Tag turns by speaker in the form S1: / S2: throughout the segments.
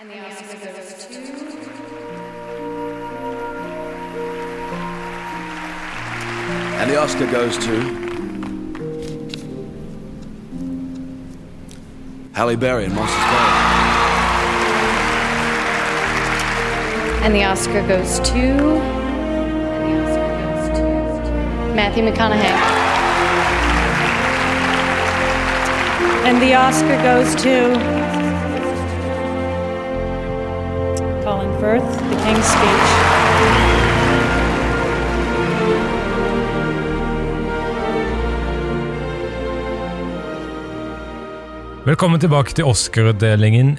S1: And the Oscar goes to.
S2: And the Oscar goes to. Halle Berry in Monsters Ball.
S1: And the Oscar goes to. And the Oscar goes to. Matthew McConaughey.
S3: And the Oscar goes to Colin Firth, The King's Speech.
S4: Velkommen tilbake til Oscar-utdelingen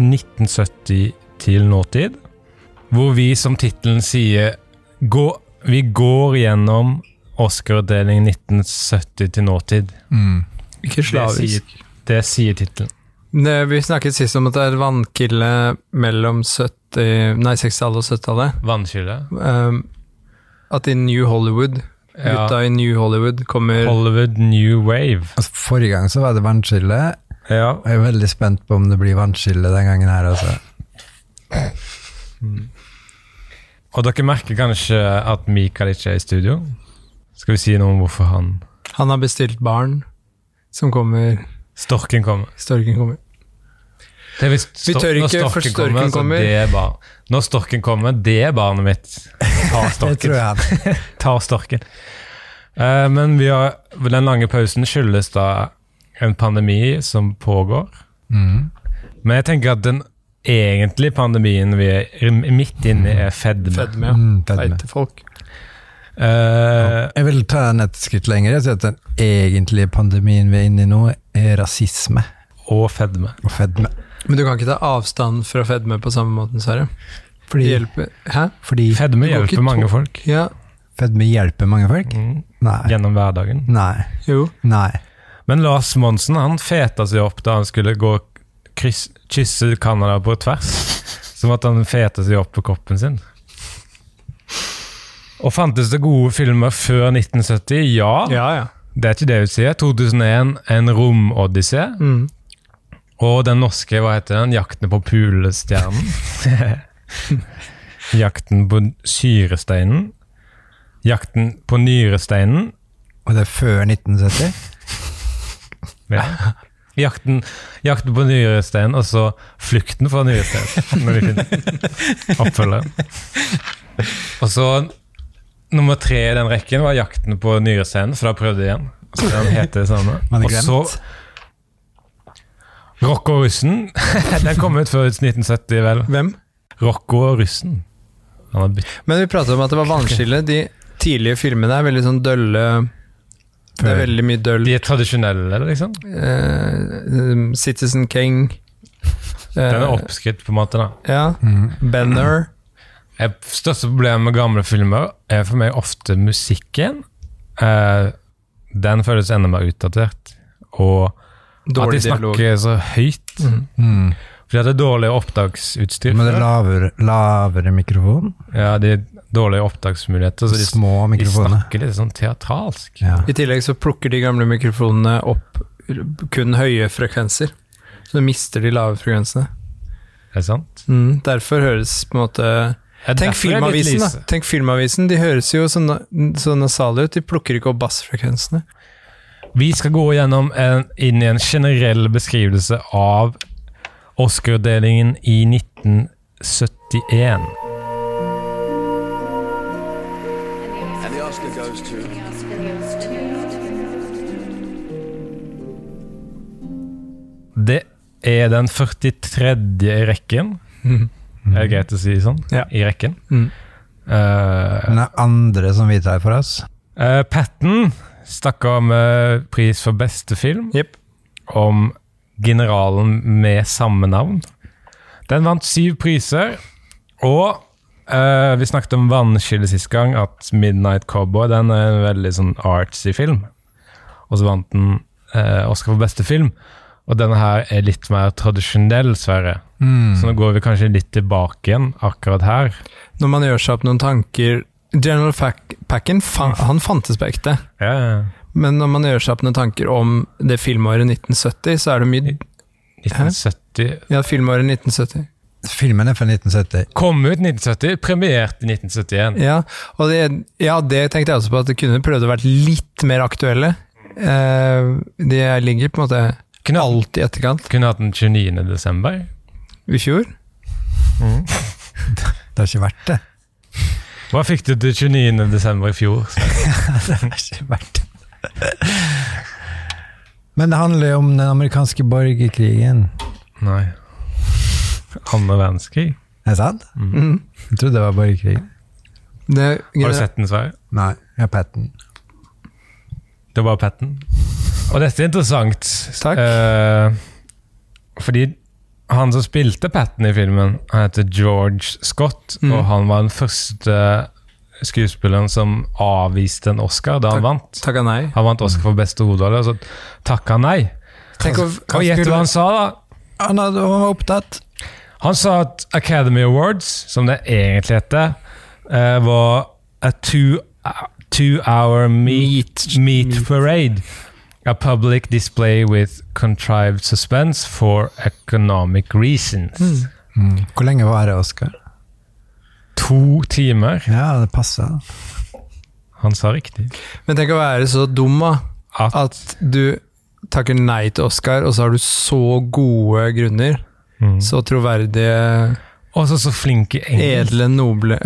S4: 1970 til nåtid, hvor vi som tittelen sier gå, Vi går gjennom Oscar-utdelingen 1970 til nåtid. Det sier,
S5: Ikke slavisk.
S4: det sier tittelen.
S5: Det, vi snakket sist om at det er vannkilde mellom 70, nei, 60-tallet og 70-tallet.
S4: Vannkilde.
S5: Um, at i New Hollywood,
S4: Ja.
S5: gutta i New Hollywood kommer
S4: Hollywood New Wave.
S6: Altså, forrige gang så var det vannskille.
S4: Ja.
S6: Jeg er veldig spent på om det blir vannskille den gangen her, altså.
S4: Og dere merker kanskje at Mikael ikke er i studio? Skal vi si noe om hvorfor han
S5: Han har bestilt barn som kommer
S4: Storken kommer.
S5: Storken kommer.
S4: Det er hvis
S5: Vi
S4: stor-
S5: tør
S4: når
S5: ikke, for storken
S4: så
S5: kommer.
S4: Det er bar når storken kommer, det er barnet mitt. Ta
S6: Det tror
S4: storken.
S6: jeg. han-
S4: Ta storken. Eh, men vi har, den lange pausen skyldes da en pandemi som pågår.
S5: Mm.
S4: Men jeg tenker at den egentlige pandemien vi er i- midt inne i, er fedme.
S5: Fedme, ja.
S6: Mm, fedme.
S5: Feite folk.
S4: Eh,
S6: Jeg vil ta den et skritt lenger og si at den egentlige pandemien vi er inne i nå, er rasisme
S4: og fedme.
S6: og fedme.
S5: Men du kan ikke ta avstand fra fedme på samme måten, Sverre. Det
S6: Fordi,
S5: hjelper. Hæ?
S6: fordi
S4: Fedme
S5: Det går ikke
S4: hjelper mange
S5: to-
S4: folk
S5: Ja,
S6: fedme hjelper mange folk?
S4: mm,
S6: Nei.
S4: gjennom hverdagen.
S6: Nei.
S5: jo.
S6: Nei.
S4: Men Lars Monsen han feta seg opp da han skulle gå og kryss, kysse Canada på tvers. Som at han feta seg opp på kroppen sin. Og fantes det gode filmer før 1970? Ja.
S5: Ja, ja.
S4: Det er ikke det vi sier. 2001, En romodyssé.
S5: Mm.
S4: Og den norske, hva heter den? Jakten på pulestjernen. Jakten på syresteinen. Jakten på nyresteinen.
S6: Og det er før 1970?
S4: Ja. Jakten, jakten på nyresteinen, og så flukten fra nyresteinen. Når de finner oppfølgeren. Og så nummer tre i den rekken var jakten på nyresteinen, for da prøvde jeg igjen. Så den heter det samme.
S6: Man har
S4: Og så
S6: glemt.
S4: Rocco og russen. Den kom ut før 1970, vel.
S5: Hvem?
S4: Rocco og russen. Han har bytt-
S5: Men vi pratet om at det var vannskille. De tidlige filmene er veldig sånn dølle Det er veldig mye døll.
S4: De er tradisjonelle, liksom.
S5: Eh, um, Citizen King.
S4: Den er oppskrytt, på en måte. da.
S5: Eh, Ja.
S6: Mm.
S5: Banner.
S4: Jeg, største problemet med gamle filmer er for meg ofte musikken. Eh, den føles enda mer utdatert. Og at de
S5: Dårlig
S4: snakker
S5: dialog. Mhm.
S4: så høyt.
S6: Mm.
S4: Fordi at det er dårlig opptaksutstyr.
S6: Men det er lavere, lavere mikrofon?
S4: Ja, de er dårlige opptaksmuligheter. Så Altså de,
S6: Små
S4: de
S6: mikrofoner.
S4: snakker litt sånn teatralsk.
S6: Ja.
S5: I tillegg så plukker de gamle mikrofonene opp kun høye frekvenser. Så du mister de lave frekvensene.
S4: Er det sant?
S5: Mm, derfor høres på en måte
S4: Ja,
S5: Tenk
S4: derfor er jeg litt
S5: Filmavisen, da.
S4: lyse.
S5: Tenk filmavisen. De høres jo så, na så nasale ut. De plukker ikke opp bassfrekvensene.
S4: Vi skal gå gjennom en, inn i en generell beskrivelse av Oscar-utdelingen i 1971.
S2: And the Oscar goes to.
S4: Det er den 43. i rekken. Er det greit å si sånn?
S5: Mm-hmm. Ja.
S4: I rekken.
S5: Mm.
S4: Eh,
S6: Men det er andre som vi tar for oss.
S4: eh, Patton stakk av med pris for beste film
S5: Jepp.
S4: om generalen med samme navn. Den vant syv priser, og eh, vi snakket om vannskille sist gang, at Midnight Cowboy den er en veldig sånn artsy film. Og så vant den eh, Oscar for beste film. Og denne her er litt mer tradisjonell, Sverre.
S5: Mm.
S4: Så nå går vi kanskje litt tilbake igjen akkurat her.
S5: Når man gjør seg opp noen tanker General Fac- Packen, fa
S4: Mm.
S5: han fantes på ekte.
S4: Ja, ja, ja.
S5: Men når man gjør seg opp noen tanker om det filmåret 1970, så er det mye
S4: 1970
S5: Ja, filmåret 1970.
S6: Filmen er fra 1970.
S4: Kom ut 1970, premiert i 1971.
S5: Ja, og det, ja, det tenkte jeg også på, at det kunne prøvd å være litt mer aktuelle. Eh, de ligger på en måte
S4: Kunne,
S5: alltid i etterkant.
S4: kunne hatt den 29. desember.
S5: I fjor?
S6: Det har ikke vært det.
S4: Hva fikk du til 29. desember i fjor?
S6: Det har ikke vært det. Men det handler jo om den amerikanske borgerkrigen.
S4: Nei. Andre verdenskrig.
S6: Er det sant?
S5: Mhm.
S6: Jeg trodde det var borgerkrigen.
S5: Det,
S4: Har du sett den, Sverre?
S6: Nei, jeg har Patten.
S4: Det var Patten. Og dette er interessant.
S5: Takk.
S4: eh, fordi han som spilte Patten i filmen, han heter George Scott,
S5: Mm.
S4: og han var den første skuespilleren som avviste en Oscar da han vant.
S5: Takka nei.
S4: Han vant Oscar for beste hoderolle, og så takka han nei.
S5: Tenk å-
S4: Og gjett hva han sa, da?
S6: Han hadde- han var opptatt.
S4: Han sa at Academy Awards, som det egentlig heter, eh, var a two, two hour meat, meat, parade. A public display with contrived suspense for economic reasons.
S6: Hvor lenge var det, Oskar?
S4: To timer.
S6: Ja, det passa.
S4: Han sa riktig.
S5: Men tenk å være så dum, da.
S4: At,
S5: At du takker nei til Oscar, og så har du så gode grunner.
S4: Mm.
S5: Så troverdige,
S4: Også så flink i engelsk.
S5: edle, noble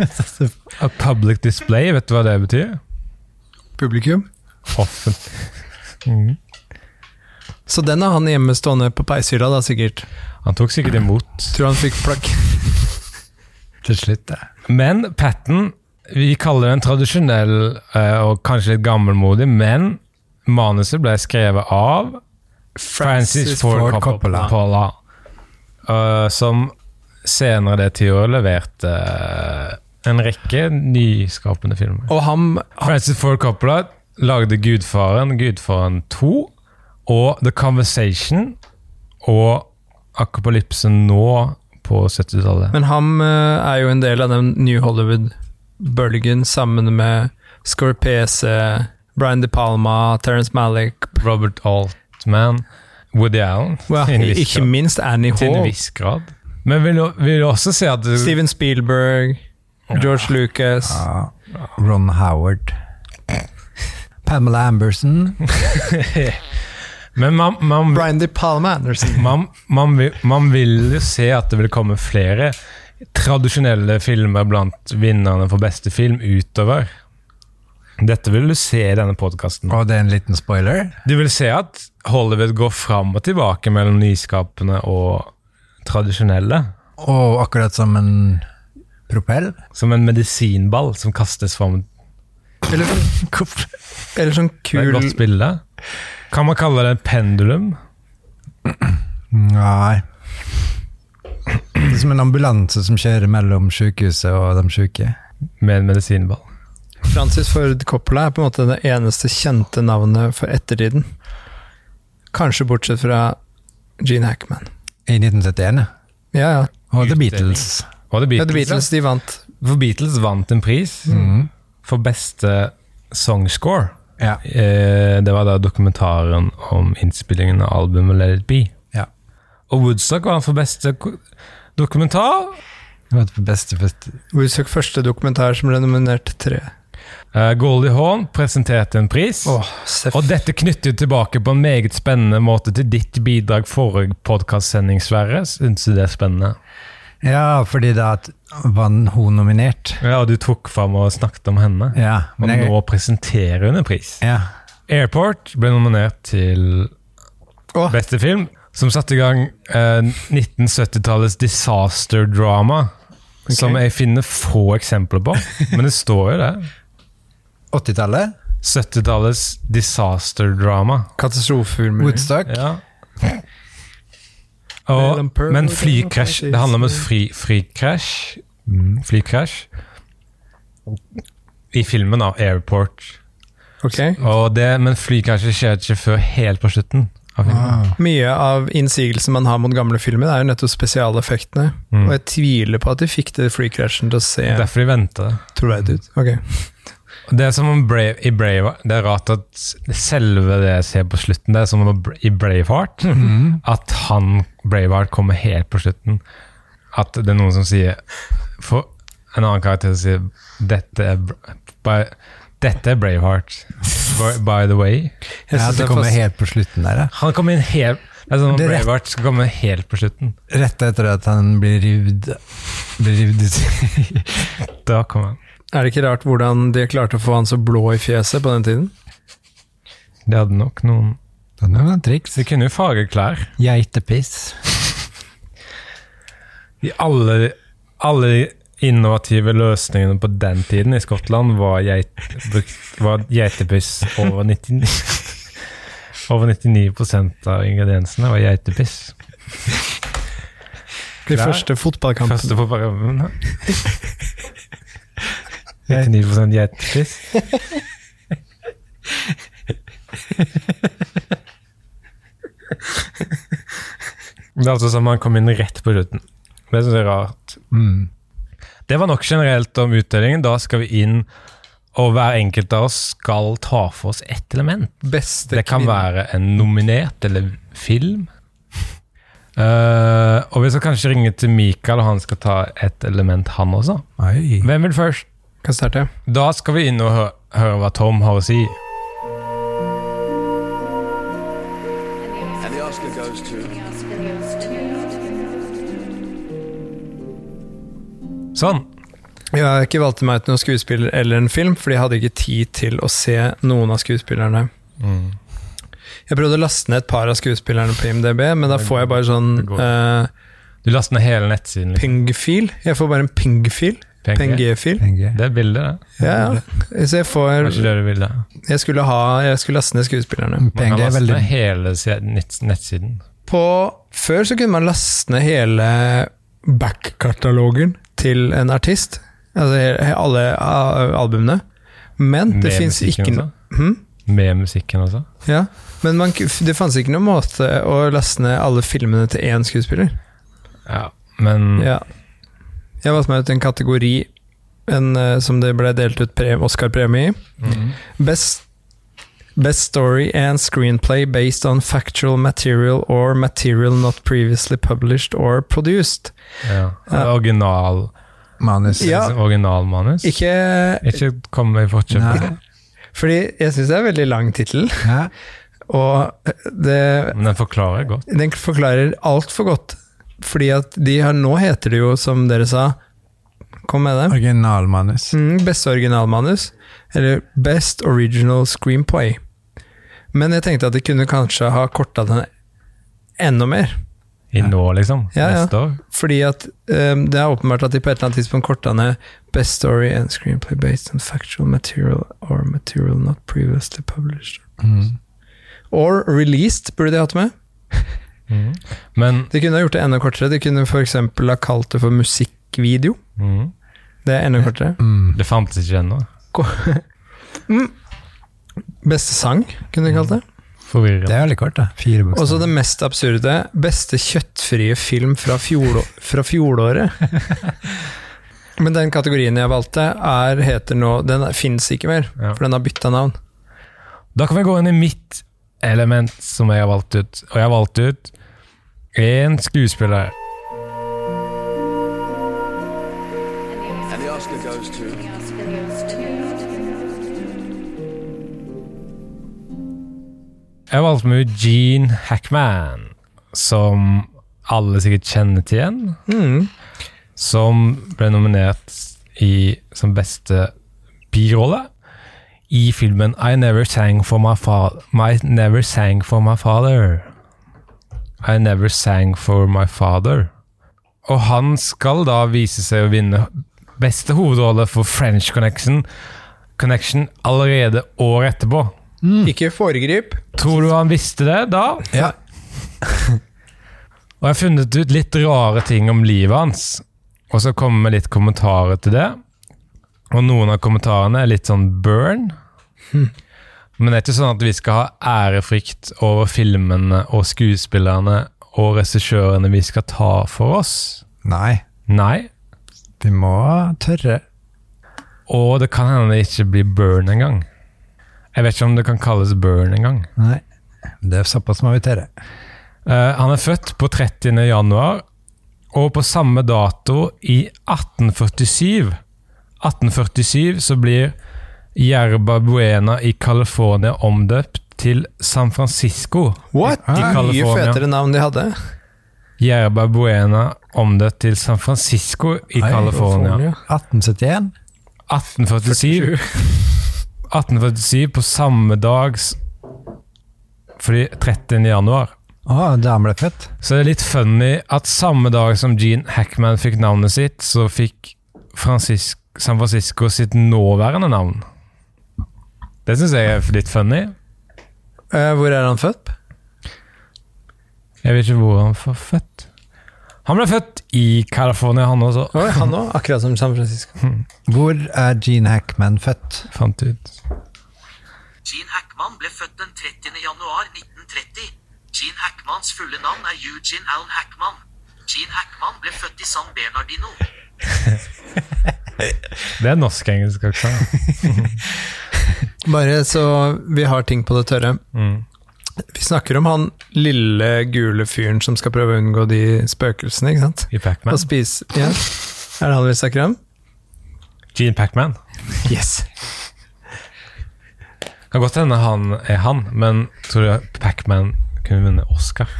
S4: A public display, vet du hva det betyr?
S5: publikum.
S4: Offen. Mhm.
S5: Så den har han hjemme stående på peishylla, da, sikkert.
S4: Han tok sikkert imot.
S5: Tror han fikk plakk.
S6: Til slutt, det.
S4: Men Patten, vi kaller den tradisjonell eh, og kanskje litt gammelmodig, men manuset ble skrevet av Francis Ford,
S6: Ford
S4: Coppola,
S6: Coppola.
S4: eh, som senere det tiåret leverte eh, en rekke nyskapende filmer.
S5: Og han
S4: Francis Ford Coppola lagde Gudfaren, Gudfaren 2 og The Conversation og Akapolypsen nå på 70-tallet.
S5: Men han eh, er jo en del av den New Hollywood-bølgen sammen med Scorpese, Brian De Palma, Terence Malick
S4: Robert Altman, Woody Allen.
S5: ja,
S4: til en viss
S5: Ikke
S4: grad.
S5: minst Annie
S4: Til en
S5: Hall,
S4: viss grad. Men vil du, vil du også si at du,
S5: Steven Spielberg, George Lucas
S6: Ja. Ron Howard. Pamela Amberson.
S4: Men man, man,
S5: Brian De Palma Anderson.
S4: man, man, vil, man vil jo se at det vil komme flere tradisjonelle filmer blant vinnerne for beste film utover. Dette vil du se i denne podkasten.
S6: Og det er en liten spoiler.
S4: Du vil se at Hollywood går fram og tilbake mellom nyskapende og tradisjonelle.
S6: Og akkurat som en propell.
S4: Som en medisinball som kastes fram
S5: Eller, sånn eller sånn
S4: Det er et
S5: kul
S4: godt bilde. Kan man kalle det et pendulum?
S6: Nei. Det er som en ambulanse som kjører mellom sykehuset og de syke.
S4: Med en medisinball.
S5: Francis Ford Coppola er på en måte det eneste kjente navnet for ettertiden. Kanskje bortsett fra Gene Hackman.
S6: I 1971, ja.
S5: Ja, ja.
S6: Og The
S4: Utdeling.
S6: Beatles.
S4: Var det
S5: ja
S4: Beatles?
S5: The Beatles, Mm. de vant.
S4: ja? For Beatles vant en pris
S6: Mm.
S4: for beste songscore.
S6: Ja.
S4: Eh, det var da dokumentaren om innspillingen av albumet Let It Be.
S6: Ja.
S4: Og Woodstock var for beste ko- dokumentar.
S6: Det var det beste fest-
S5: Woodstock første dokumentar som ble nominert til tre.
S4: Eh, Goldie Hawn presenterte en pris.
S5: Åh, seff.
S4: Og dette knytter jo tilbake på en meget spennende måte til ditt bidrag forrige podkastsending, Sverre. Syns du det er spennende?
S6: Ja, fordi da at- var hun nominert.
S4: Ja, og du tok fram og snakket om henne.
S6: Ja,
S4: Og
S6: men jeg,
S4: nå presenterer hun en pris.
S6: ja.
S4: Airport ble nominert til
S5: Åh.
S4: beste film, som satte i gang eh, 1970-tallets disaster drama. Som jeg finner få eksempler på, men det står jo det.
S6: 80-tallet,
S4: 70-tallets disaster drama.
S5: Katastrofefilmer.
S6: Woodstock.
S4: Ja. Og, men flykrasj Det handler om et fri, frikrasj. Flykrasj. I filmen, da. Airport.
S5: Ok.
S4: Og det, men flykrasjet skjer ikke før helt på slutten. av filmen.
S6: Ah.
S5: Mye av innsigelsen man har mot gamle filmer, er jo nettopp spesialeffektene.
S4: Mm.
S5: Og jeg tviler på at de fikk det flykrasjen til å se
S4: Derfor de venter.
S5: troverdig ut. Ok.
S4: Og Det er som om Brave, i Brave, det er rart at selve det jeg ser på slutten, det er som om i Braveheart, at han Braveheart kommer helt på slutten. at det er noen som sier for En annen karakter som sier dette er, br- by, dette er Braveheart, by, by the way.
S5: Jeg
S6: Ja,
S5: synes
S6: det
S5: er fas-
S6: kommer helt på slutten der, ja.
S4: Han kommer inn helt det er sånn at
S6: Det er rett.
S4: Braveheart skal komme helt på slutten.
S6: Rett etter at han blir rivd Blir rivd ut.
S4: Da kommer han.
S5: Er det ikke rart hvordan de klarte å få han så blå i fjeset på den tiden?
S4: De hadde nok noen
S6: Det er noen triks.
S4: De kunne jo farge klær.
S6: Geitepiss.
S4: I alle, alle de innovative løsningene på den tiden i Skottland var, geit, brukt- var geitepiss over 99 Over 99 av ingrediensene var geitepiss.
S5: De
S4: Klær.
S5: første fotballkampene.
S4: Første fotballkampen. da. 99 geitepiss. Det er altså som om han kom inn rett på slutten. Det synes jeg er rart.
S6: Mm.
S4: Det var nok generelt om utdelingen. Da skal vi inn, og hver enkelt av oss skal ta for oss ett element.
S5: Beste
S4: Det kan
S5: kvinne.
S4: være en nominert eller film. Eh, og vi skal kanskje ringe til Mikael, og han skal ta et element, han også.
S6: Oi.
S4: Hvem vil først?
S5: Kan starte.
S4: Da skal vi inn og hø høre hva Tom har å si.
S2: And the Oscar goes to.
S4: Sånn.
S5: Jeg har ikke valgt meg ut noen skuespiller eller en film, fordi jeg hadde ikke tid til å se noen av skuespillerne.
S4: Mm.
S5: Jeg prøvde å laste ned et par av skuespillerne på IMDb, men da får jeg bare sånn
S4: Det går.
S5: eh,
S4: Du laster ned hele nettsiden. liksom.
S5: ping-fil. Jeg får bare en ping-fil.
S4: PNG.
S5: PNG-fil.
S6: Tenker jeg.
S4: Det er bildet, det.
S5: Ja, ja. Så jeg
S4: Var
S5: får
S4: ikke det du ville?
S5: Jeg skulle, ha, jeg skulle laste ned skuespillerne.
S4: Man kan
S6: Penger er
S4: laste
S6: veldig
S4: ned hele si- nett- nettsiden.
S5: På, før så kunne man laste ned hele back-katalogen til en artist. Altså he- alle a- albumene. Men det
S4: Med
S5: fins
S4: musikken
S5: ikke
S4: også?
S5: noe Hm?
S4: Med musikken også.
S5: Ja, men man, k- det fantes ikke noen måte å laste ned alle filmene til én skuespiller.
S4: Ja, men
S5: Ja. Jeg valgte meg ut en kategori en, eh, som det ble delt ut pre- Oscar-premie i.
S4: Mm.
S5: Best, best story and screenplay based on factual material or material not previously published or produced.
S4: ja.
S5: Ja.
S4: Original, liksom
S6: manus.
S5: Ja.
S4: originalmanus.
S5: Ikke
S4: Ikke kom i forkjøpet.
S6: Nei.
S5: Fordi jeg syns det er en veldig lang tittel,
S6: Ja.
S5: og det,
S4: Men den forklarer godt.
S5: den forklarer altfor godt. Fordi at de her nå heter det jo, som dere sa Kom med det.
S6: Originalmanus.
S5: Mm, beste originalmanus, eller Best Original Screenplay. Men jeg tenkte at de kunne kanskje ha korta den enda mer.
S4: I nå, liksom.
S5: Ja, ja.
S4: Neste år.
S5: Fordi at ehm, det er åpenbart at de på et eller annet tidspunkt korta ned Best Story and Screenplay based on factual material or material not previously published.
S6: Mm.
S5: Or released, burde de hatt med.
S4: Mhm. Men
S5: De kunne ha gjort det enda kortere. De kunne f.eks. ha kalt det for musikkvideo.
S4: mhm,
S5: Det er enda kortere.
S6: Mm.
S4: det fantes ikke ennå.
S5: Beste sang, kunne de kalt det.
S6: Det
S4: Forvirrende.
S6: er veldig kort, da. Fire
S5: Og så det
S6: bokstaver.
S5: mest absurde. Beste kjøttfrie film fra, fjorå- fra fjoråret. Men den kategorien jeg valgte, er, heter nå Den fins ikke mer,
S4: Ja.
S5: for den har bytta navn.
S4: Da kan vi gå inn i mitt element som jeg har valgt ut. Og jeg har valgt ut én skuespiller.
S2: And the Oscar goes to.
S4: Jeg valgte med ut Gene Hackman, som alle sikkert kjenner til igjen. Som ble nominert i, som beste birolle i filmen I Never Sang For My Father. My Never Sang For My Father. I Never Sang For My Father. Og han skal da vise seg å vinne beste hovedrolle for French Connection, Connection allerede året etterpå.
S5: Ikke foregrip.
S4: Tror du han visste det da?
S6: Ja.
S4: Og jeg har funnet ut litt rare ting om livet hans. Og så kommer med litt kommentarer til det. Og noen av kommentarene er litt sånn burn. Men det er ikke sånn at vi skal ha ærefrykt over filmene og skuespillerne og regissørene vi skal ta for oss.
S6: Nei,
S4: Nei.
S6: de må tørre.
S4: Og det kan hende det ikke blir burn engang. Jeg vet ikke om det kan kalles burn engang.
S6: Nei. Det er såpass må vi tørre.
S4: Eh, han er født på 30. januar Og på samme dato, i 1847 1847 så blir Jerba Buena i California omdøpt til San Francisco.
S5: What? Ah,
S4: I
S5: Mye
S4: California.
S5: fetere navn de hadde.
S4: Jerba Buena omdøpt til San Francisco i California.
S6: 1871.
S4: 1847 1847 på samme dag s- Fordi 13. januar.
S6: Å, da han ble født.
S4: Så det er litt funny at samme dag som Gene Hackman fikk navnet sitt, så fikk Francis San Francisco sitt nåværende navn. Det syns jeg er litt funny.
S5: Eh, hvor er han født?
S4: Jeg vet ikke hvor han var født. Han ble født i California, han også,
S5: Oi, han òg, akkurat som San Francisco.
S6: Hvor er Gene Hackman født?
S4: fant jeg ut.
S7: Gene Hackman ble født den 30. januar 1930. Gene Hackmans fulle navn er Eugene Allen Hackman. Gene Hackman ble født i San Bernardino.
S4: Det er norsk-engelsk aksent.
S5: Bare så vi har ting på det tørre.
S4: Mm.
S5: Vi snakker om han lille gule fyren som skal prøve å unngå de spøkelsene, ikke sant?
S4: I Pacman.
S5: Og spise ja. Er det han vi snakker om?
S4: Gene Pacman.
S5: Yes.
S4: Kan godt hende han er han, men tror du Pacman kunne vunnet Oscar?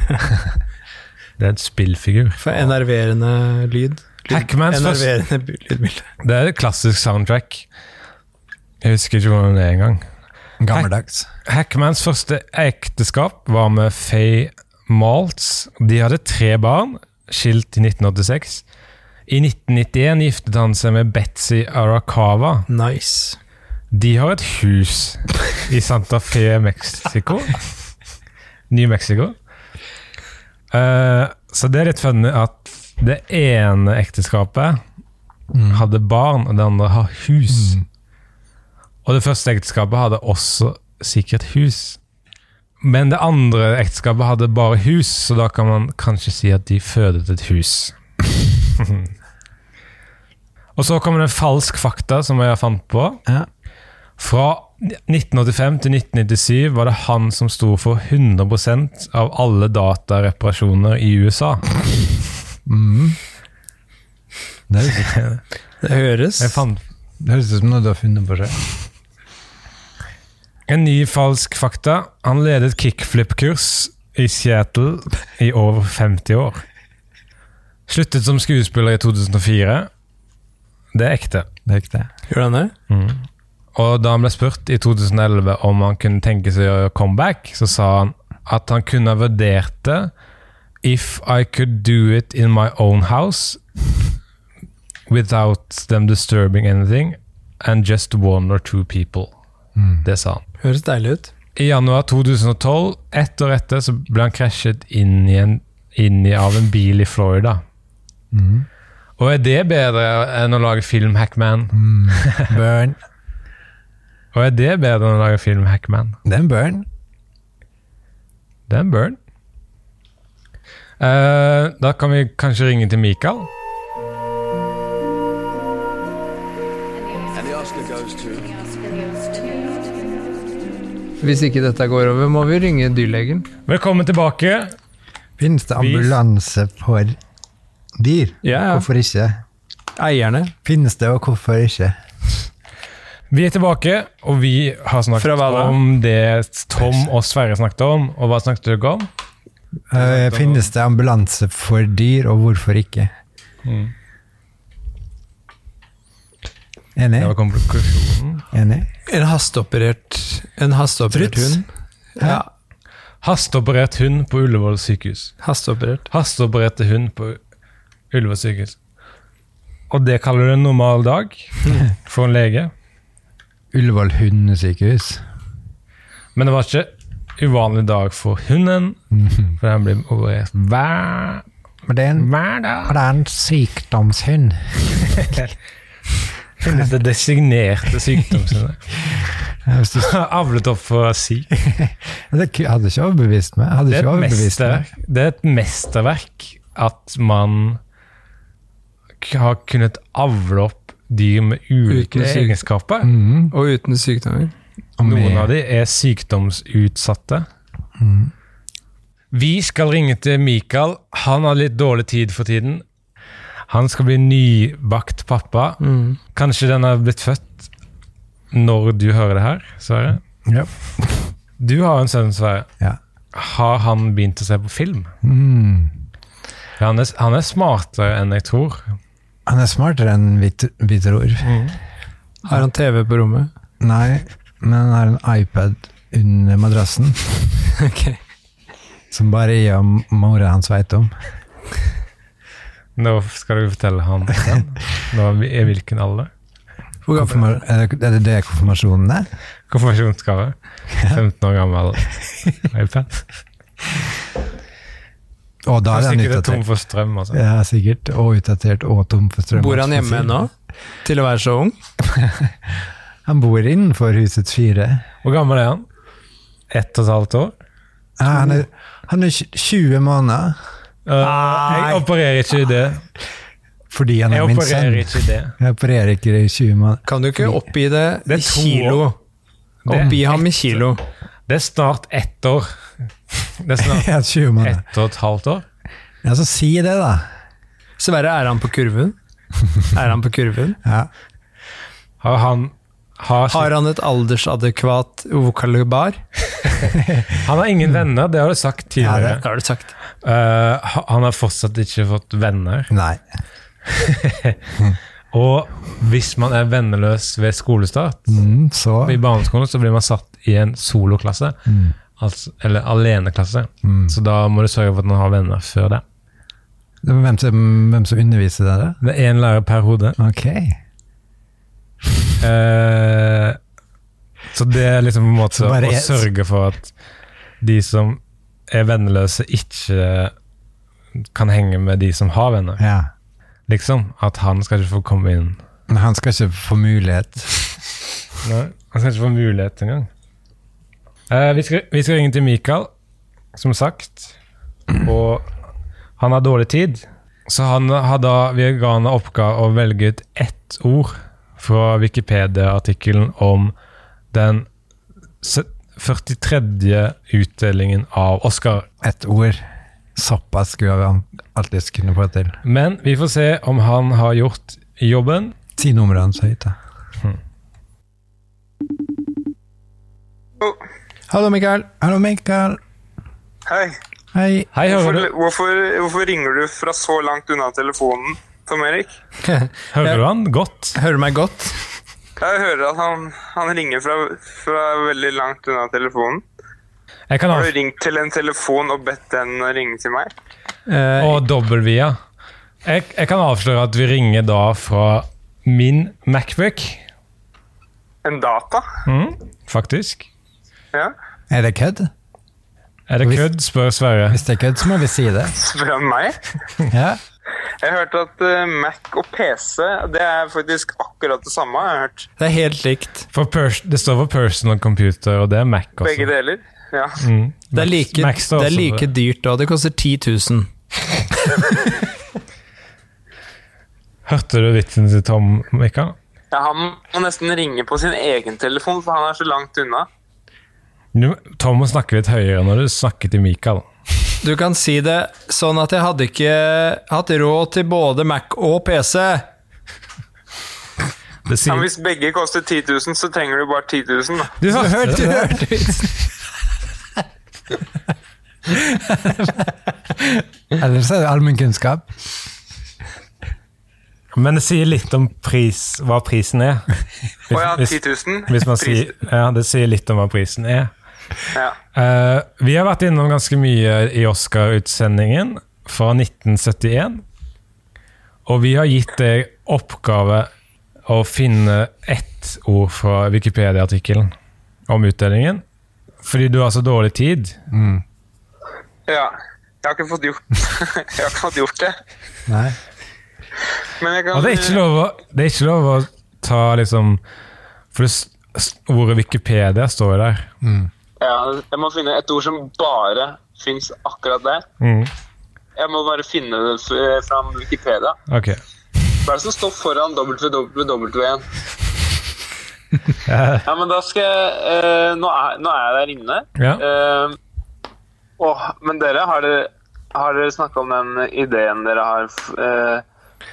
S4: Det er et spillfigur.
S5: For enerverende lyd. lyd.
S4: Hackmans først.
S5: enerverende by- lydbilde.
S4: Det er et klassisk soundtrack. Jeg husker ikke hvordan det er engang.
S6: Gammeldags.
S4: Hackmans første ekteskap var med Faye Maltz. De hadde tre barn, skilt i 1986. I 1991 giftet han seg med Betzy Arakawa.
S5: Nice.
S4: De har et hus i Santa Fe, Mexico. New Mexico. Eh, så det er litt funny at det ene ekteskapet hadde barn, og det andre har hus. Og det første ekteskapet hadde også sikkert hus. Men det andre ekteskapet hadde bare hus, så da kan man kanskje si at de fødet et hus. og så kommer det en falsk fakta som jeg fant på.
S6: Ja.
S4: Fra 1985 til 1997 var det han som sto for 100 av alle datareparasjoner i USA.
S6: Det høres,
S5: Det høres.
S4: Jeg fant
S6: det høres ut som noe du har funnet på selv.
S4: en ny falsk fakta. Han ledet kickflip-kurs i Seattle i over 50 år. Sluttet som skuespiller i 2004. Det er ekte.
S6: Det er ikke det.
S5: Gjorde han det?
S4: Og da han ble spurt i 2011 om han kunne tenke seg å gjøre comeback, så sa han at han kunne ha vurdert det if I could do it in my own house without them disturbing anything and just one or two people. Det sa han.
S5: Høres deilig ut.
S4: I januar 2012, ett år etter, så ble han krasjet inn i, en, inn i av en bil i Florida. Og er det bedre enn å lage film Hackman?
S6: Burn.
S4: Og er det bedre enn å lage film Hackman?
S6: Det er en burn.
S4: Det er en burn. Eh, da kan vi kanskje ringe til Mikael.
S2: And the Oscar goes to.
S5: Hvis ikke dette går over, må vi ringe dyrlegen.
S4: Velkommen tilbake.
S6: Finnes det ambulanse for dyr?
S5: Ja, ja.
S6: Hvorfor ikke?
S5: Eierne.
S6: Finnes det, og hvorfor ikke?
S4: Vi er tilbake, og vi har
S5: Fra
S4: snakket
S5: hva da?
S4: om det Tom og Sverre snakket om. Og hva snakket dere om?
S6: Eh, finnes det ambulanse for dyr, og hvorfor ikke? Mm. Enig?
S4: Det var konklusjonen.
S6: Enig?
S5: En hasteoperert En hasteoperert
S6: Fritz?
S5: hund. Ja,
S4: Hasteoperert hund på Ullevål sykehus.
S5: hasteoperert.
S4: Hasteopererte hund på Ullevål sykehus. Og det kaller du en normal dag for en lege.
S6: Ullevål hundesykehus.
S4: Men det var ikke uvanlig dag for hunden, for den blir operert hver,
S6: Men det er en,
S4: hver dag.
S6: det er en sykdomshund.
S4: Finnes det designerte sykdommer?
S6: Hvis du-
S4: Avlet opp for si. Det
S6: Det ku- hadde ikke overbevist meg. Hadde
S4: er,
S6: ikke
S4: et
S6: overbevist meg.
S4: mesterverk, det er et mesterverk at man k- har kunnet avle opp dyr med ulike
S5: Uten syk-
S4: egenskaper.
S5: Og uten sykdommer.
S6: Mm. Og med- Mm.
S4: Noen av de er sykdomsutsatte. Vi skal ringe til Mikael. Han har litt dårlig tid for tiden. Han skal bli nybakt pappa.
S6: Mm.
S4: Kanskje den er blitt født når du hører det her, Sverre?
S6: Ja.
S4: Du har en sønn, Sverre.
S6: Ja.
S4: Har han begynt å se på film?
S6: Mm.
S4: For Han, er, han er smartere enn jeg tror.
S6: Han er smartere enn vi, tr- vi tror.
S5: Har han TV på rommet?
S6: Nei, men han har en iPad under madrassen
S5: Ok.
S6: som bare jeg og mora hans veit om.
S4: Nå skal du fortelle han den. Nå er vi- i hvilken alder?
S6: Hvor Konfirma er det- er det det konfirmasjonen er?
S4: Konfirmasjonsgave. 15 år gammel iPad.
S6: Å, da er
S4: Hvis ikke
S6: han
S4: det er tom
S6: utdatert.
S4: for strøm, altså.
S6: Ja, sikkert. Og utdatert og tom for strøm.
S5: Bor han hjemme ennå? Til å være så ung?
S6: Han bor innenfor husets fire.
S4: Hvor gammel er han? Ett og et halvt år?
S6: Ja, han, er, han er tj- 20 måneder
S4: Eh, jeg opererer ikke i det.
S6: fordi han
S4: Jeg
S6: er min sønn.
S4: opererer ikke i det.
S6: Jeg opererer ikke i 20 måneder.
S5: Kan du ikke oppgi det,
S4: Det er
S5: i
S4: to
S5: kilo?
S4: Det er
S5: Oppgi ham i kilo.
S4: Det er snart ett år. Det er snart
S6: Ja, 20 måneder.
S4: ett og et halvt år.
S6: Ja, så si det, da.
S5: Sverre, er han på kurven? Er han på kurven?
S6: Ja.
S4: Har han har,
S5: Har han et aldersadekvat vokalibar?
S4: han har ingen venner, det har du sagt tidligere.
S5: Det har du sagt.
S4: Eh, ha- han har fortsatt ikke fått venner.
S6: Nei.
S4: Og hvis man er venneløs ved skolestart,
S6: Mm, så
S4: i barneskolen så blir man satt i en soloklasse,
S6: Mm.
S4: altså, eller aleneklasse. Så da må du sørge for at man har venner før det.
S6: hvem som, hvem som underviser deg, da?
S4: Det er én lærer per hode.
S6: Ok.
S4: Eh, så det er liksom på en måte
S6: Så bare
S4: å
S6: et-
S4: sørge for at de som er venneløse, ikke kan henge med de som har venner.
S6: Ja.
S4: Liksom. At han skal ikke få komme inn.
S6: Men han skal ikke få mulighet.
S4: Nei, han skal ikke få mulighet engang. Eh, vi, skal, vi skal ringe til Mikael, som sagt. Og han har dårlig tid. Så han har da, vi ga han oppgave å velge ut ett ord fra Wikipedia-artikkelen om den se- 43. utdelingen av Oscar.
S6: Ett ord. Såpass skulle han alltid kunne få til.
S4: Men vi får se om han har gjort jobben.
S6: Si nummeret hans høyt, da.
S4: Hm.
S5: Hallo, Mikael.
S6: Hallo, Mikael.
S8: Hei.
S6: Hei.
S4: Hei, hører
S8: Hvorfor,
S4: du,
S8: hvorfor, hvorfor ringer du fra så langt unna telefonen, Tom Erik?
S4: hører du han godt?
S5: Hører du meg godt?
S8: Jeg hører at han, han ringer fra, fra veldig langt unna telefonen.
S4: Jeg kan ha
S8: Har du ringt til en telefon og bedt den å ringe til meg?
S5: Eh,
S4: Og dobbeltvia. Jeg, jeg kan avsløre at vi ringer da fra min Macbook,
S8: En data?
S4: Mm. faktisk.
S8: Ja.
S6: Er det kødd?
S4: Er det kødd, spør Sverre.
S6: Hvis det er kødd, så må vi si det.
S8: Spør han meg?
S6: Ja.
S8: Jeg hørte at eh, Mac og PC, det er faktisk akkurat det samme, har jeg hørt.
S5: Det er helt likt.
S4: For pers det står for personal computer, og det er Mac også.
S8: Begge deler. Ja.
S5: Det er like,
S4: Max står også
S5: det er
S6: altså.
S4: for
S5: like
S4: det.
S5: dyrt da. Det koster 10 000.
S4: Hørte du vitsen til Tom Mikael?
S8: ja. Han må nesten ringe på sin egen telefon, for han er så langt unna.
S4: Du, Tom må snakke litt høyere når du snakker til Mikael.
S5: Du kan si det sånn at jeg hadde ikke hatt råd til både Mac og PC.
S4: Det
S8: Ja,
S4: sier,
S8: men hvis begge koster 10 000, så trenger du bare 10 000, da.
S4: du hørte
S5: Du
S4: det?
S5: hørte vitsen.
S6: Ellers er det allmennkunnskap.
S4: Men det sier litt om pris, hva prisen er. Hvis,
S8: Å ja, 10
S4: hvis,
S8: 000.
S4: hvis man
S8: Pris-
S4: sier, ja, det sier litt om hva prisen er.
S8: Ja.
S4: Eh, vi har vært innom ganske mye i Oscar-utsendingen fra 1971. Og vi har gitt deg oppgave å finne ett ord fra Wikipedia-artikkelen om utdelingen. Fordi du har så dårlig tid.
S8: Ja. Jeg har ikke fått gjort, jeg har ikke fått gjort det.
S6: Nei.
S8: Men jeg kan,
S4: Og det er ikke lov å, det er ikke lov å ta liksom For det, s- s- ordet Wikipedia står jo der.
S8: Ja, jeg må finne et ord som bare fins akkurat der.
S4: Mm.
S8: Jeg må bare finne det f- eh, fram Wikipedia.
S4: Ok.
S8: Hva er det som står foran www-en? Ja, men da skal jeg eh, nå, er, nå er jeg der inne.
S4: Ja.
S8: Eh, åh, men dere, har dere, har dere snakka om den ideen dere har f- eh,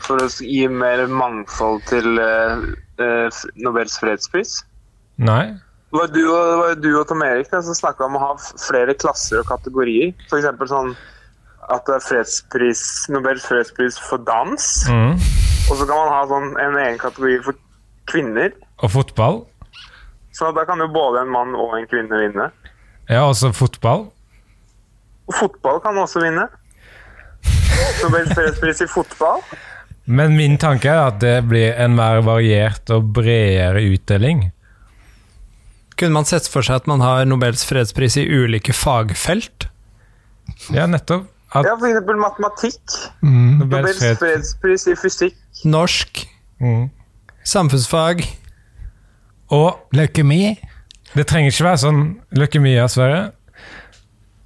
S8: For å gi mer mangfold til eh, eh, Nobels fredspris.
S4: Nei?
S8: Det var du og, det var du og Tom Erik da, som snakka om å ha f- flere klasser og kategorier. F.eks. sånn at det er fredspris, Nobels fredspris for dans.
S4: Mhm.
S8: Og så kan man ha sånn, en egen kategori for kvinner.
S4: Og fotball?
S8: Så da kan jo både en mann og en kvinne vinne.
S4: Ja, også fotball.
S8: Og fotball kan også vinne. Nobels fredspris i fotball.
S4: Men min tanke er at det blir en mer variert og bredere utdeling.
S5: Kunne man sett for seg at man har Nobels fredspris i ulike fagfelt?
S4: Ja, nettopp. At
S8: Ja, f.eks. matematikk.
S4: Nobels
S8: Nobels
S4: fred
S8: fredspris i fysikk.
S5: Norsk?
S4: Mm.
S5: Samfunnsfag?
S4: Og
S6: Leukemi?
S4: Det trenger ikke være sånn leukemi, ja, Sverre.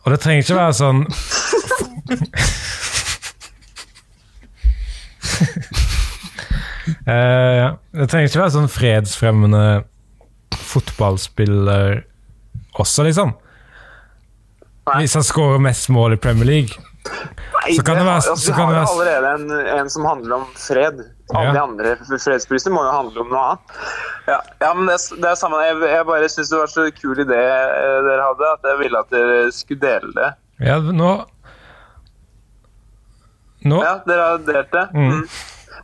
S4: Og det trenger ikke være sånn Eh, ja. Det trenger ikke være sånn fredsfremmende fotballspiller også, liksom.
S8: Nei.
S4: Hvis han skårer mest mål i Premier League.
S8: Nei,
S4: Så kan det være-
S8: altså,
S4: så
S8: vi
S4: kan
S8: har
S4: det
S8: jo
S4: være-
S8: allerede en, en som handler om fred. Alle
S4: Ja.
S8: de andre fredsprisene må jo handle om noe annet. Ja, ja men det, er s- det er samme. Jeg, jeg bare syns det var så kul idé eh, dere hadde, at jeg ville at dere skulle dele det.
S4: Ja, nå Nå
S8: Ja, dere har delt det.
S4: Mm.
S8: Mm.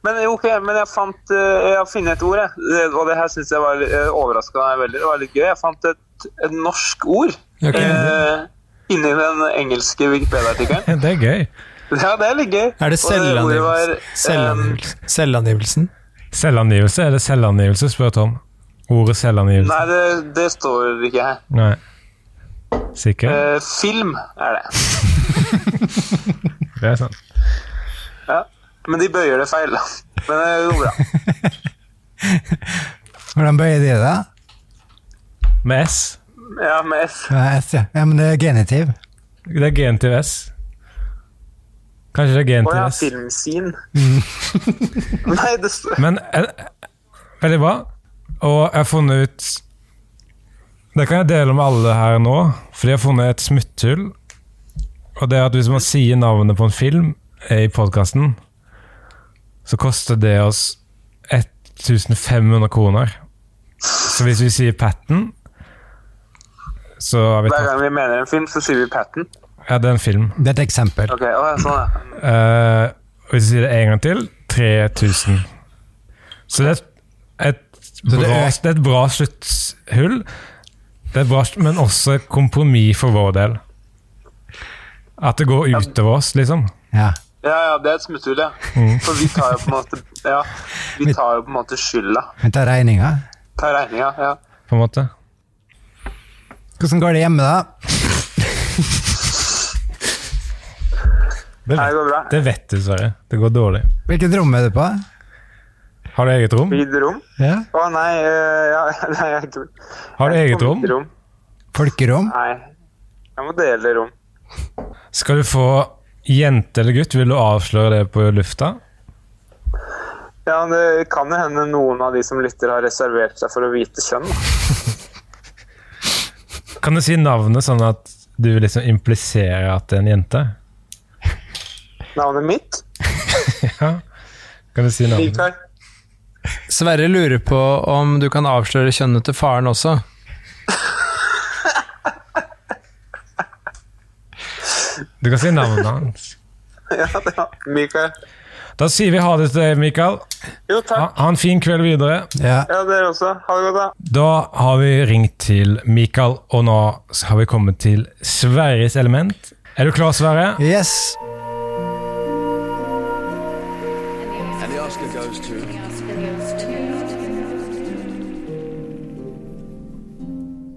S8: Men jo, ok, men jeg fant eh, Jeg har funnet et ord, jeg. Det- Og det her syns jeg var overraska meg veldig. Det var litt gøy. Jeg fant et, et norsk ord
S5: Ok.
S8: eh, inni den engelske Wikipedia-artikkelen.
S4: Det er gøy.
S8: Ja, det er litt gøy.
S5: Er det
S8: Og ordet var,
S5: selvangivelse?
S8: eh,
S5: Selvangivelse? selvangivelsen?
S4: Selvangivelse? Er det selvangivelse, spør Tom. Ordet selvangivelse.
S8: Nei, det, det står ikke her.
S4: Nei. Sikker?
S8: Eh, film er det.
S4: Det er sant.
S8: Ja. Men de bøyer det feil, da. Men det går bra.
S6: Hvordan bøyer de det?
S4: Med S.
S8: Ja, med F.
S6: Ja, S, ja. ja, men det er genitiv.
S4: Det er gen til S. Kanskje det er gen
S8: Å
S4: til
S8: ja,
S4: S.
S8: filmscene.
S4: Mm.
S8: Nei, det står
S4: Men eh, veldig bra. Og jeg har funnet ut Det kan jeg dele med alle her nå, for de har funnet et smutthull. Og det er at hvis man sier navnet på en film eh, i podkasten, så koster det oss 1500 kroner. Så hvis vi sier Patten, så har vi
S8: Hver
S4: tatt
S8: gang vi mener en film, så sier vi Patten.
S4: Ja, det er en film.
S6: Det er et eksempel.
S8: Ok, å, ja, sånn, ja.
S4: Eh, og hvis vi sier det en gang til 3000. Så det er et, et,
S6: det
S4: bra,
S6: øker-
S4: det er et bra slutthull, det er bra, sl- men også et kompromiss for vår del. At det går utover oss, liksom.
S6: Ja.
S8: Ja, ja, det er et smutthull, ja.
S5: Mm.
S8: For vi tar jo på en måte Ja, vi tar jo på en måte skylda.
S6: Vi tar regninga.
S8: Tar regninga, ja.
S4: På en måte.
S6: Hvordan går det hjemme, da?
S4: Det
S8: Nei, Det
S4: vet,
S8: går bra.
S4: det vet du, Sverre. Det går dårlig.
S6: Hvilket rom er du på?
S4: Har du eget rom?
S8: Videre rom?
S6: Ja.
S8: Å nei, eh, ja, nei, jeg tror
S4: Har du eget rom?
S8: rom?
S6: Folkerom?
S8: Nei. Jeg må dele rom.
S4: Skal du få jente eller gutt? Vil du avsløre det på lufta?
S8: Ja, Det kan jo hende noen av de som lytter, har reservert seg for å vite kjønn. da.
S4: Kan du si navnet sånn at du liksom impliserer at det er en jente?
S8: Navnet mitt?
S4: Kan du si navnet?
S8: Mikael.
S5: Sverre lurer på om du kan avsløre kjønnet til faren også.
S4: Du kan si navnet hans.
S8: Ja, det var Mikael.
S4: Da sier vi ha det til deg, Mikael.
S8: Jo,
S4: Ha,
S8: takk.
S4: ha en fin kveld videre.
S6: Ja.
S8: Ja, dere også. Ha det godt, da.
S4: Da har vi ringt til Mikael, og nå så har vi kommet til Sverres element. Er du klar, Sverre?
S6: Yes.
S2: And the Oscar goes to.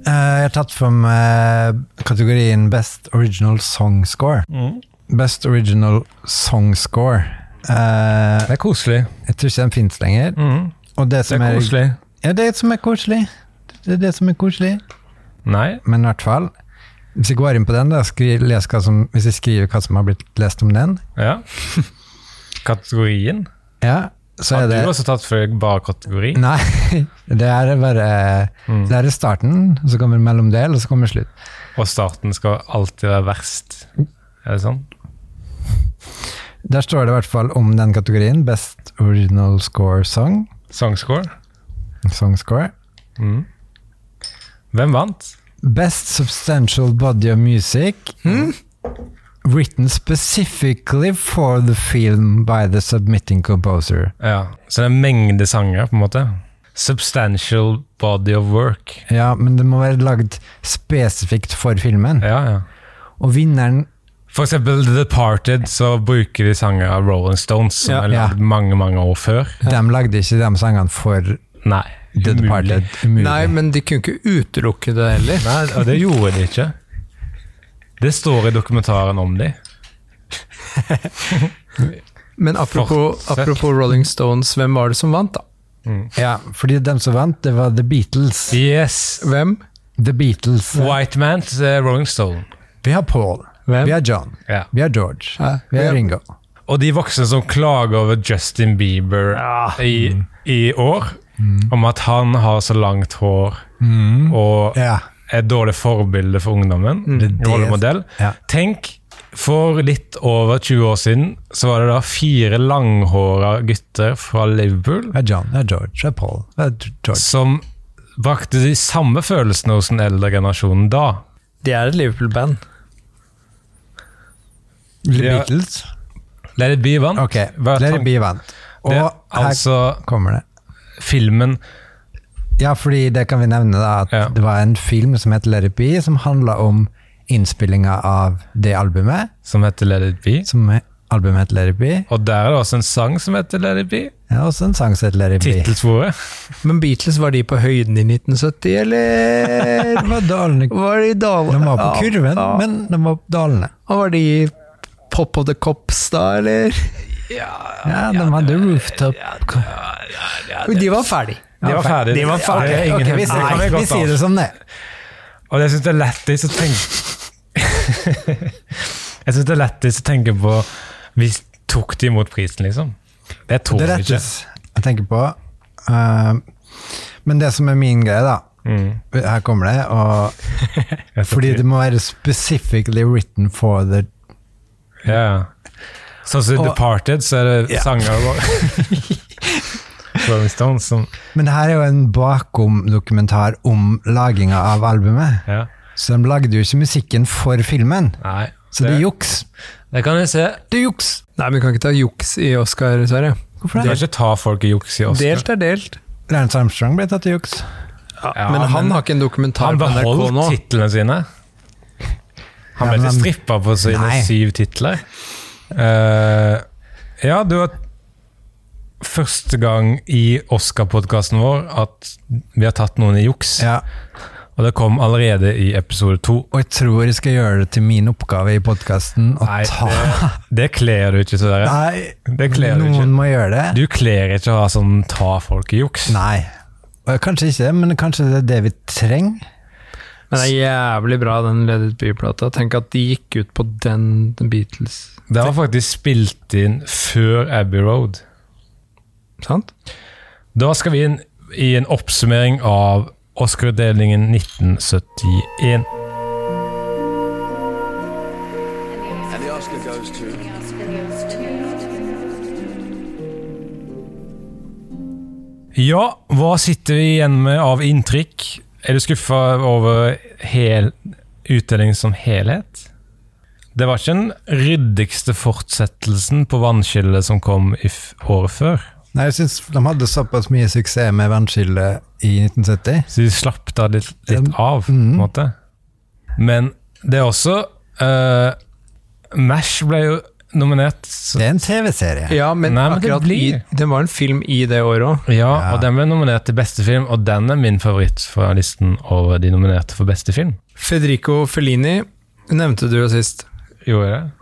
S6: Eh, jeg har tatt for meg kategorien Best Original Song Score. Best Original Song Score. Eh,
S4: Det er koselig.
S6: jeg tror ikke den fins lenger.
S4: Mm,
S6: Og det
S4: det
S6: som
S4: er
S6: er,
S4: koselig.
S6: Ja, det som er koselig. Det er det som er koselig.
S4: Nei.
S6: Men i hvert fall, hvis jeg går inn på den, da, skri, les hva som, hvis jeg skriver hva som har blitt lest om den,
S4: Ja. Kategorien.
S6: ja, så
S4: Har
S6: er
S4: du
S6: det
S4: også tatt for deg bare kategori?
S6: Nei, det er bare
S4: Mm.
S6: Det er starten, og så kommer en mellomdel, og så kommer slutt.
S4: Og starten skal alltid være verst. Er det sånn?
S6: Der står det i hvert fall om den kategorien. Best original score song.
S4: Songscore.
S6: Song score.
S4: Hvem vant?
S6: Best substantial body of music. Written specifically for the film by the submitting composer.
S4: Ja, Så det er en mengde sanger, på en måte. Substantial body of work.
S6: Ja, men det må være lagd spesifikt for filmen.
S4: Ja, ja.
S6: Og vinneren
S4: For eksempel The Departed, så bruker de sanger av Rolling Stones, som
S5: Ja.
S4: er lagd
S6: Ja.
S4: mange, mange år før.
S6: De lagde ikke de sangene for
S4: Nei.
S6: The
S4: umulig.
S6: Departed. Umulig.
S5: Nei, men de kunne ikke utelukke det heller.
S4: Nei, og det gjorde de ikke. Det står i dokumentaren om de.
S5: Men apropos,
S4: Fortsett.
S5: apropos Rolling Stones, hvem var det som vant, da?
S6: Ja, fordi de som vant, det var The Beatles.
S4: Yes.
S5: Hvem?
S6: The Beatles.
S4: White Man til eh, Rolling Stone.
S6: Vi har Paul.
S5: Hvem?
S6: Vi har John.
S4: Ja.
S6: Vi har George.
S5: Ja.
S6: Vi
S5: Ja.
S6: har Ringo.
S4: Og de voksne som klager over Justin Bieber i, i år, om at han har så langt hår og
S6: Ja.
S4: er et dårlig forbilde for ungdommen,
S6: det-
S4: rollemodell.
S6: Mm. Ja.
S4: Tenk, for litt over 20 år siden så var det da fire langhåra gutter fra Liverpool
S6: Vi har John, vi har George, vi har Paul, vi har George.
S4: som brakte de samme følelsene hos den eldre generasjonen da.
S5: De er et Liverpool-band.
S6: The
S4: Ja.
S6: Beatles.
S4: Let it be vant.
S6: Ok,
S4: Hva er
S6: Let
S4: tanken?
S6: it be vant. Og
S4: Det er
S6: her
S4: altså
S6: kommer det.
S4: filmen
S6: Ja, fordi det kan vi nevne da, at
S4: Ja.
S6: det var en film som het Let it be, som handla om innspillinga av det albumet,
S4: som heter Let it be.
S6: som he- albumet het Let it be.
S4: Og der er det også en sang som heter Let it be.
S6: Ja, også en sang som het Let it be.
S4: Tittelsporet.
S5: Men Beatles, var de på høyden i 1970, eller
S6: Det var dalende.
S5: var de i dal...
S6: De var på
S5: Ja,
S6: kurven,
S5: ja.
S6: men de var dalende.
S5: Og var de i Pop of the Cops, da, eller?
S6: Ja, de hadde rooftop.
S5: De var ferdig.
S4: De var ferdige.
S5: De var ferdige.
S4: Det er ingen
S6: Ok, vi
S4: hemmelighet.
S6: sier-
S4: Det kan jeg
S6: vi
S4: godt
S6: sier
S4: ta.
S6: det som det.
S4: Og jeg syns det er lættis å tenke Jeg syns det er lættis å tenke på Vi tok de imot prisen, liksom. Det tror
S6: Det
S4: jeg ikke.
S6: rettes jeg tenker på. eh, men det som er min greie, da Her kommer det. Og,
S4: Mm. Jeg tror
S6: fordi
S4: ikke-
S6: det må være specifically written for the
S4: ja. ja. Sånn som i
S6: Og-
S4: Departed, så er det sanger og Rolling Stones som
S6: Men det her er jo en bakom-dokumentar om laginga av albumet.
S4: Ja.
S6: Så de lagde jo ikke musikken for filmen.
S4: Nei.
S6: Så det er juks.
S4: det kan jeg se.
S6: Det er juks!
S5: Nei, men vi kan ikke ta juks i Oscar, Sverre.
S6: Hvorfor
S4: Du kan
S6: det?
S4: ikke ta folk i juks i Oscar.
S5: Delt er delt.
S6: Lance Armstrong ble tatt i juks.
S4: Ja,
S5: men han har ikke en dokumentar
S4: Han
S5: på NRK nå.
S4: beholdt titlene sine. Han ble
S6: Ja, men
S4: ikke
S6: han-
S4: strippa på sine
S6: Nei.
S4: syv titler. Eh, ja, det var første gang i Oscar-podkasten vår at vi har tatt noen i juks.
S6: Ja,
S4: Og det kom allerede i episode to.
S6: og jeg tror jeg skal gjøre det til min oppgave i podkasten å
S4: Nei,
S6: ta
S4: det, det kler du ikke, Sverre.
S6: Nei,
S4: Det kler du
S6: noen
S4: ikke.
S6: må gjøre det.
S4: Du kler ikke å ha sånn ta folk i juks.
S6: Nei. Og Kanskje ikke, men kanskje det er det vi trenger.
S5: Men det er jævlig bra, den Let It Be-plata. Tenk at de gikk ut på den den Beatles.
S4: Det var faktisk spilt inn før Abbey Road.
S5: Sant?
S4: Da skal vi inn i en oppsummering av Oscar-utdelingen 1971.
S2: And the Oscar goes to.
S4: Ja, hva sitter vi igjen med av inntrykk? Er du skuffa over hel utdelingen som helhet? Det var ikke den ryddigste fortsettelsen på vannskillet som kom i f året før.
S6: Nei, jeg synes De hadde såpass mye suksess med vannskille i 1970.
S4: Så de slapp da litt, litt av, på
S5: mm.
S4: en måte. Men det er også uh, Mash ble jo nominert. Så,
S6: Det er en TV-serie.
S5: Ja, men,
S4: Nei, men det
S5: akkurat i,
S4: blir-
S5: det var en film i det året òg.
S4: ja, og den ble nominert til beste film, og den er min favoritt fra listen over de nominerte for beste film.
S5: Federico Fellini nevnte du jo sist.
S4: Gjorde jeg det?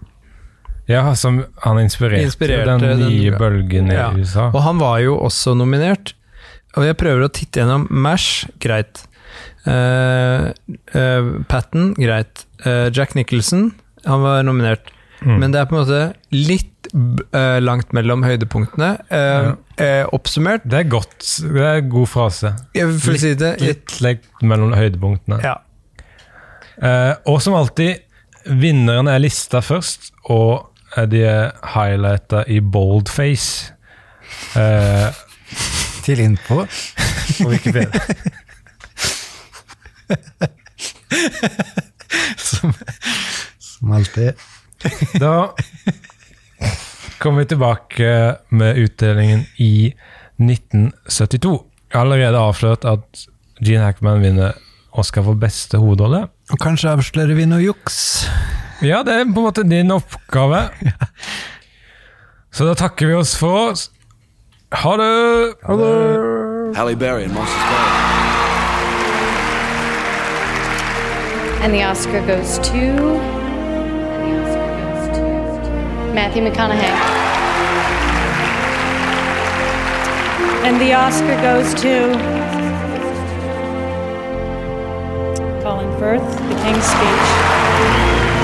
S4: Ja, som han inspirerte,
S5: Inspirerte
S4: den
S5: den-
S4: nye bølgen
S5: Ja.
S4: i USA.
S5: Og han var jo også nominert. Og jeg prøver å titte gjennom Mash, greit. Eh, eh, Patton, greit. Eh, Jack Nicholson, han var nominert. Men det er på en måte litt b- eh, langt mellom høydepunktene. Eh, eh, oppsummert
S4: Det er godt. Det er en god frase.
S5: jeg vil si det, litt,
S4: Litt legg mellom høydepunktene.
S5: ja.
S4: Eh, og som alltid, vinneren er lista først, og eh, de er highlighta i boldface. Eh,
S6: Til info.
S4: på Wikipedia.
S6: Som alltid.
S4: Da kommer vi tilbake med utdelingen i 1972. Allerede avslørt at Gene Hackman vinner Oscar for beste hovedrolle.
S6: Og kanskje avslører vi noe juks.
S4: Ja, det er på en måte din oppgave. Så da takker vi oss for oss. Ha det!
S2: Halle Berry and Monsters Ball.
S1: And the Oscar goes to. And the Oscar goes to. Matthew McConaughey.
S3: And the Oscar goes to. Colin Firth, The King's Speech.